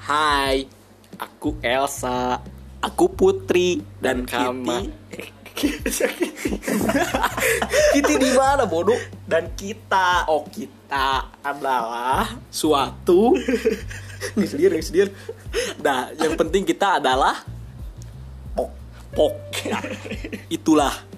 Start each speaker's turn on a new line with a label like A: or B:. A: Hai, aku Elsa, aku Putri dan
B: Kitty.
A: kami. Kitty di mana bodoh?
B: dan kita
A: Oh kita
B: adalah
A: suatu Nggak sendiri, nggak sendiri. Nah, yang penting kita adalah pok, pok. Nah, itulah